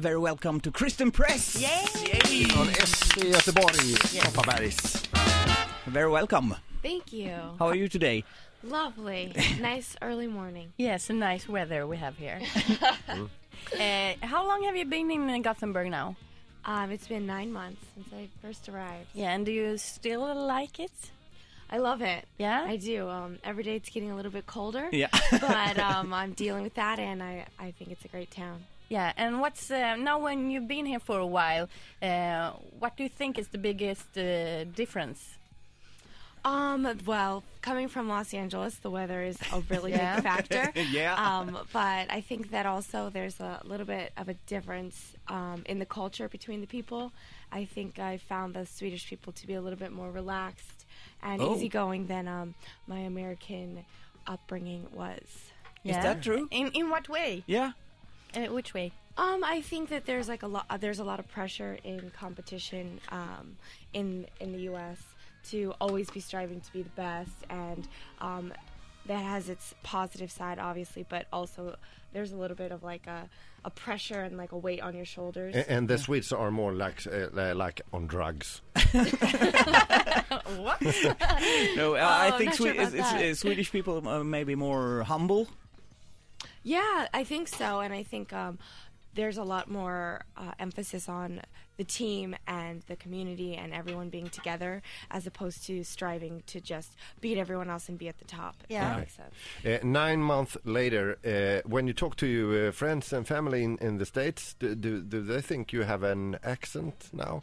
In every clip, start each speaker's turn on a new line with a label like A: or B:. A: very welcome to Kristen Press!
B: Från S i Göteborg, Kopparbergs.
A: Very welcome!
C: Thank you.
A: How are you today?
C: Lovely. nice early morning.
D: Yes, a nice weather we have here. uh, how long have you been in uh, Gothenburg now?
C: Um, it's been nine months since I first arrived.
D: Yeah, and do you still like it?
C: I love it.
D: Yeah?
C: I do. Um, every day it's getting a little bit colder.
A: Yeah.
C: but um, I'm dealing with that, and I, I think it's a great town.
D: Yeah, and what's uh, now when you've been here for a while, uh, what do you think is the biggest uh, difference?
C: Um, well, coming from Los Angeles, the weather is a really
D: Yeah.
C: big factor.
A: Yeah.
C: Um, but I think that also there's a little bit of a difference um, in the culture between the people. I think I found the Swedish people to be a little bit more relaxed and
A: Oh.
C: easygoing than um, my American upbringing was.
D: Yeah.
A: Is that true?
D: In in what way?
A: Yeah.
D: Uh, which way?
C: Um, I think that there's like a lot. There's a lot of pressure in competition um, in in the U.S. to always be striving to be the best, and um, that has its positive side, obviously, but also there's a little bit of like a, a pressure and like a weight on your shoulders.
B: A- And the Swedes are more like, uh, like on drugs.
D: What?
A: No, uh, I I
C: Oh,
A: think
C: not sure
A: Swe- it's,
C: about
A: it's,
C: that.
A: uh, Swedish people are maybe more humble.
C: Yeah, I think so, and I think um, there's a lot more uh, emphasis on the team and the community and everyone being together, as opposed to striving to just beat everyone else and be at the top. if that
D: Yeah.
C: makes sense.
B: Uh, nine months later, uh, when you talk to your uh, friends and family in, in the States, do, do, do they think you have an accent now?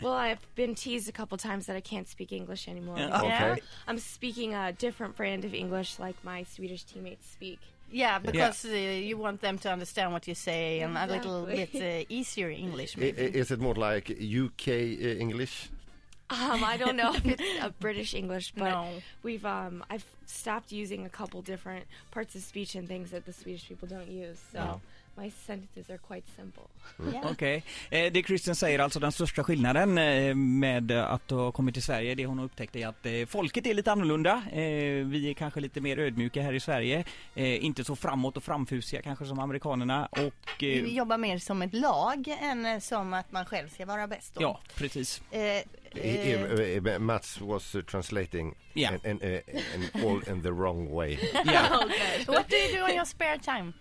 C: Well, I've been teased a couple times that I can't speak English anymore.
A: Yeah.
D: Yeah.
B: Okay.
C: I'm speaking a different brand of English, like my Swedish teammates speak.
D: Yeah, because Uh, you want them to understand what you say and a little bit
C: Exactly.
D: uh, easier English.
B: I-
D: Maybe.
B: i- is it more like UK uh, English?
C: Um, I don't know if it's a British English, but
D: No.
C: we've um, I've stopped using a couple different parts of speech and things that the Swedish people don't use. So my sentences are quite simple.
A: Mm.
D: Yeah.
A: Okej. Eh, Det Kristen säger, alltså den största skillnaden eh, med eh, att ha kommit till Sverige, det hon upptäckte är att eh, folket är lite annorlunda. Eh, Vi är kanske lite mer ödmjuka här i Sverige. Eh, Inte så framåt och framfusiga kanske som amerikanerna och... eh,
D: Vi jobbar mer som ett lag än eh, som att man själv ska vara bäst. Då.
A: Ja, precis.
D: Eh,
B: I-
D: eh,
B: I- uh, Mats was uh, translating
A: Yeah.
B: and, and, uh, and all in the wrong way.
A: Ja.
D: What do you do in your spare time?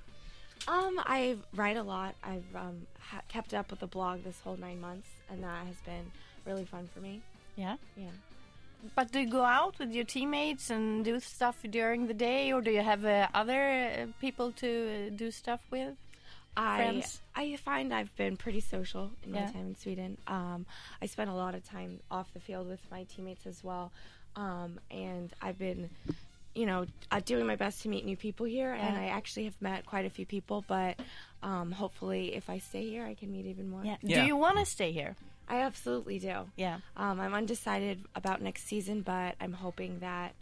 C: Um, I write a lot. I've um, ha- kept up with the blog this whole nine months, and that has been really fun for me.
D: Yeah.
C: Yeah.
D: But do you go out with your teammates and do stuff during the day, or do you have uh, other uh, people to uh, do stuff with?
C: I,
D: Friends?
C: I find I've been pretty social in my
D: Yeah.
C: time in Sweden. Um, I spent a lot of time off the field with my teammates as well. Um, and I've been, you know, uh, doing my best to meet new people here. And
D: Yeah.
C: I actually have met quite a few people, but um, hopefully if I stay here, I can meet even more.
A: Yeah.
D: Do you want to stay here?
C: I absolutely do.
D: Yeah.
C: Um, I'm undecided about next season, but I'm hoping that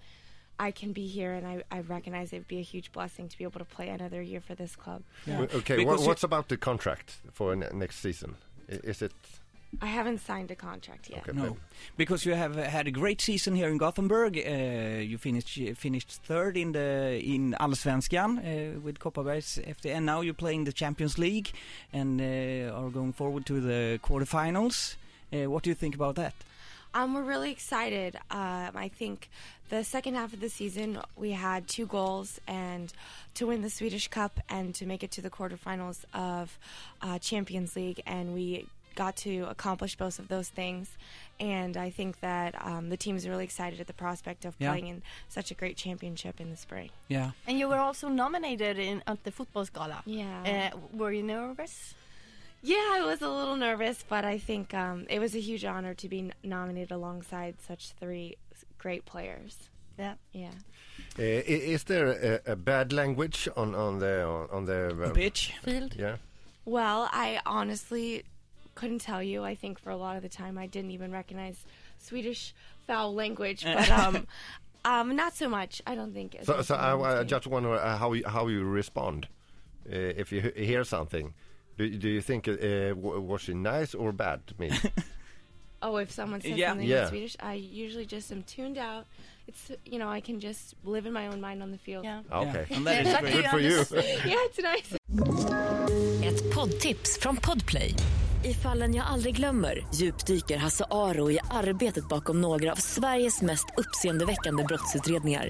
C: I can be here. And I, I recognize it would be a huge blessing to be able to play another year for this club.
B: Okay, wha-
A: Because you-
B: what's about the contract for ne- next season? I- Is it
C: I haven't signed a contract yet.
B: okay?
A: No, because you have uh, had a great season here in Gothenburg. Uh, you finished finished third in the in Allsvenskan uh, with Kopparbergs FD, and now you're playing the Champions League and uh, are going forward to the quarterfinals. Uh, what do you think about that?
C: Um, we're really excited. Um, I think the second half of the season we had two goals and to win the Swedish Cup and to make it to the quarterfinals of uh, Champions League, and we got to accomplish both of those things. And I think that um, the team's really excited at the prospect of
A: Yeah.
C: playing in such a great championship in the spring.
A: Yeah.
D: And you were also nominated in at the football gala.
C: Yeah.
D: Uh, were you nervous?
C: Yeah, I was a little nervous, but I think um, it was a huge honor to be n- nominated alongside such three s- great players.
D: Yeah.
C: Yeah.
B: Uh, i- is there a, a bad language on, on the on, on the uh,
A: Pitch.
D: Field.
B: Yeah.
C: Well, I honestly couldn't tell you. I think for a lot of the time I didn't even recognize Swedish foul language, but um, um, not so much. I don't think.
B: So, so I, I
C: Yeah.
B: just wonder uh, how you, how you respond uh, if you he- hear something. Do, do you think uh, w- was she nice or bad to me?
C: Oh, if someone says
A: Yeah.
C: something
B: Yeah.
C: in Swedish, I usually just am tuned out. It's you know I can just live in my own mind on the field.
D: Yeah.
B: Okay.
A: Yeah. And that is
D: But
A: great.
D: Um, do
B: Good for you.
D: understand-
C: yeah, it's nice.
E: Ett poddtips från Podplay. I fallen jag aldrig glömmer djupdyker Hasse Aro i arbetet bakom några av Sveriges mest uppseendeväckande brottsutredningar.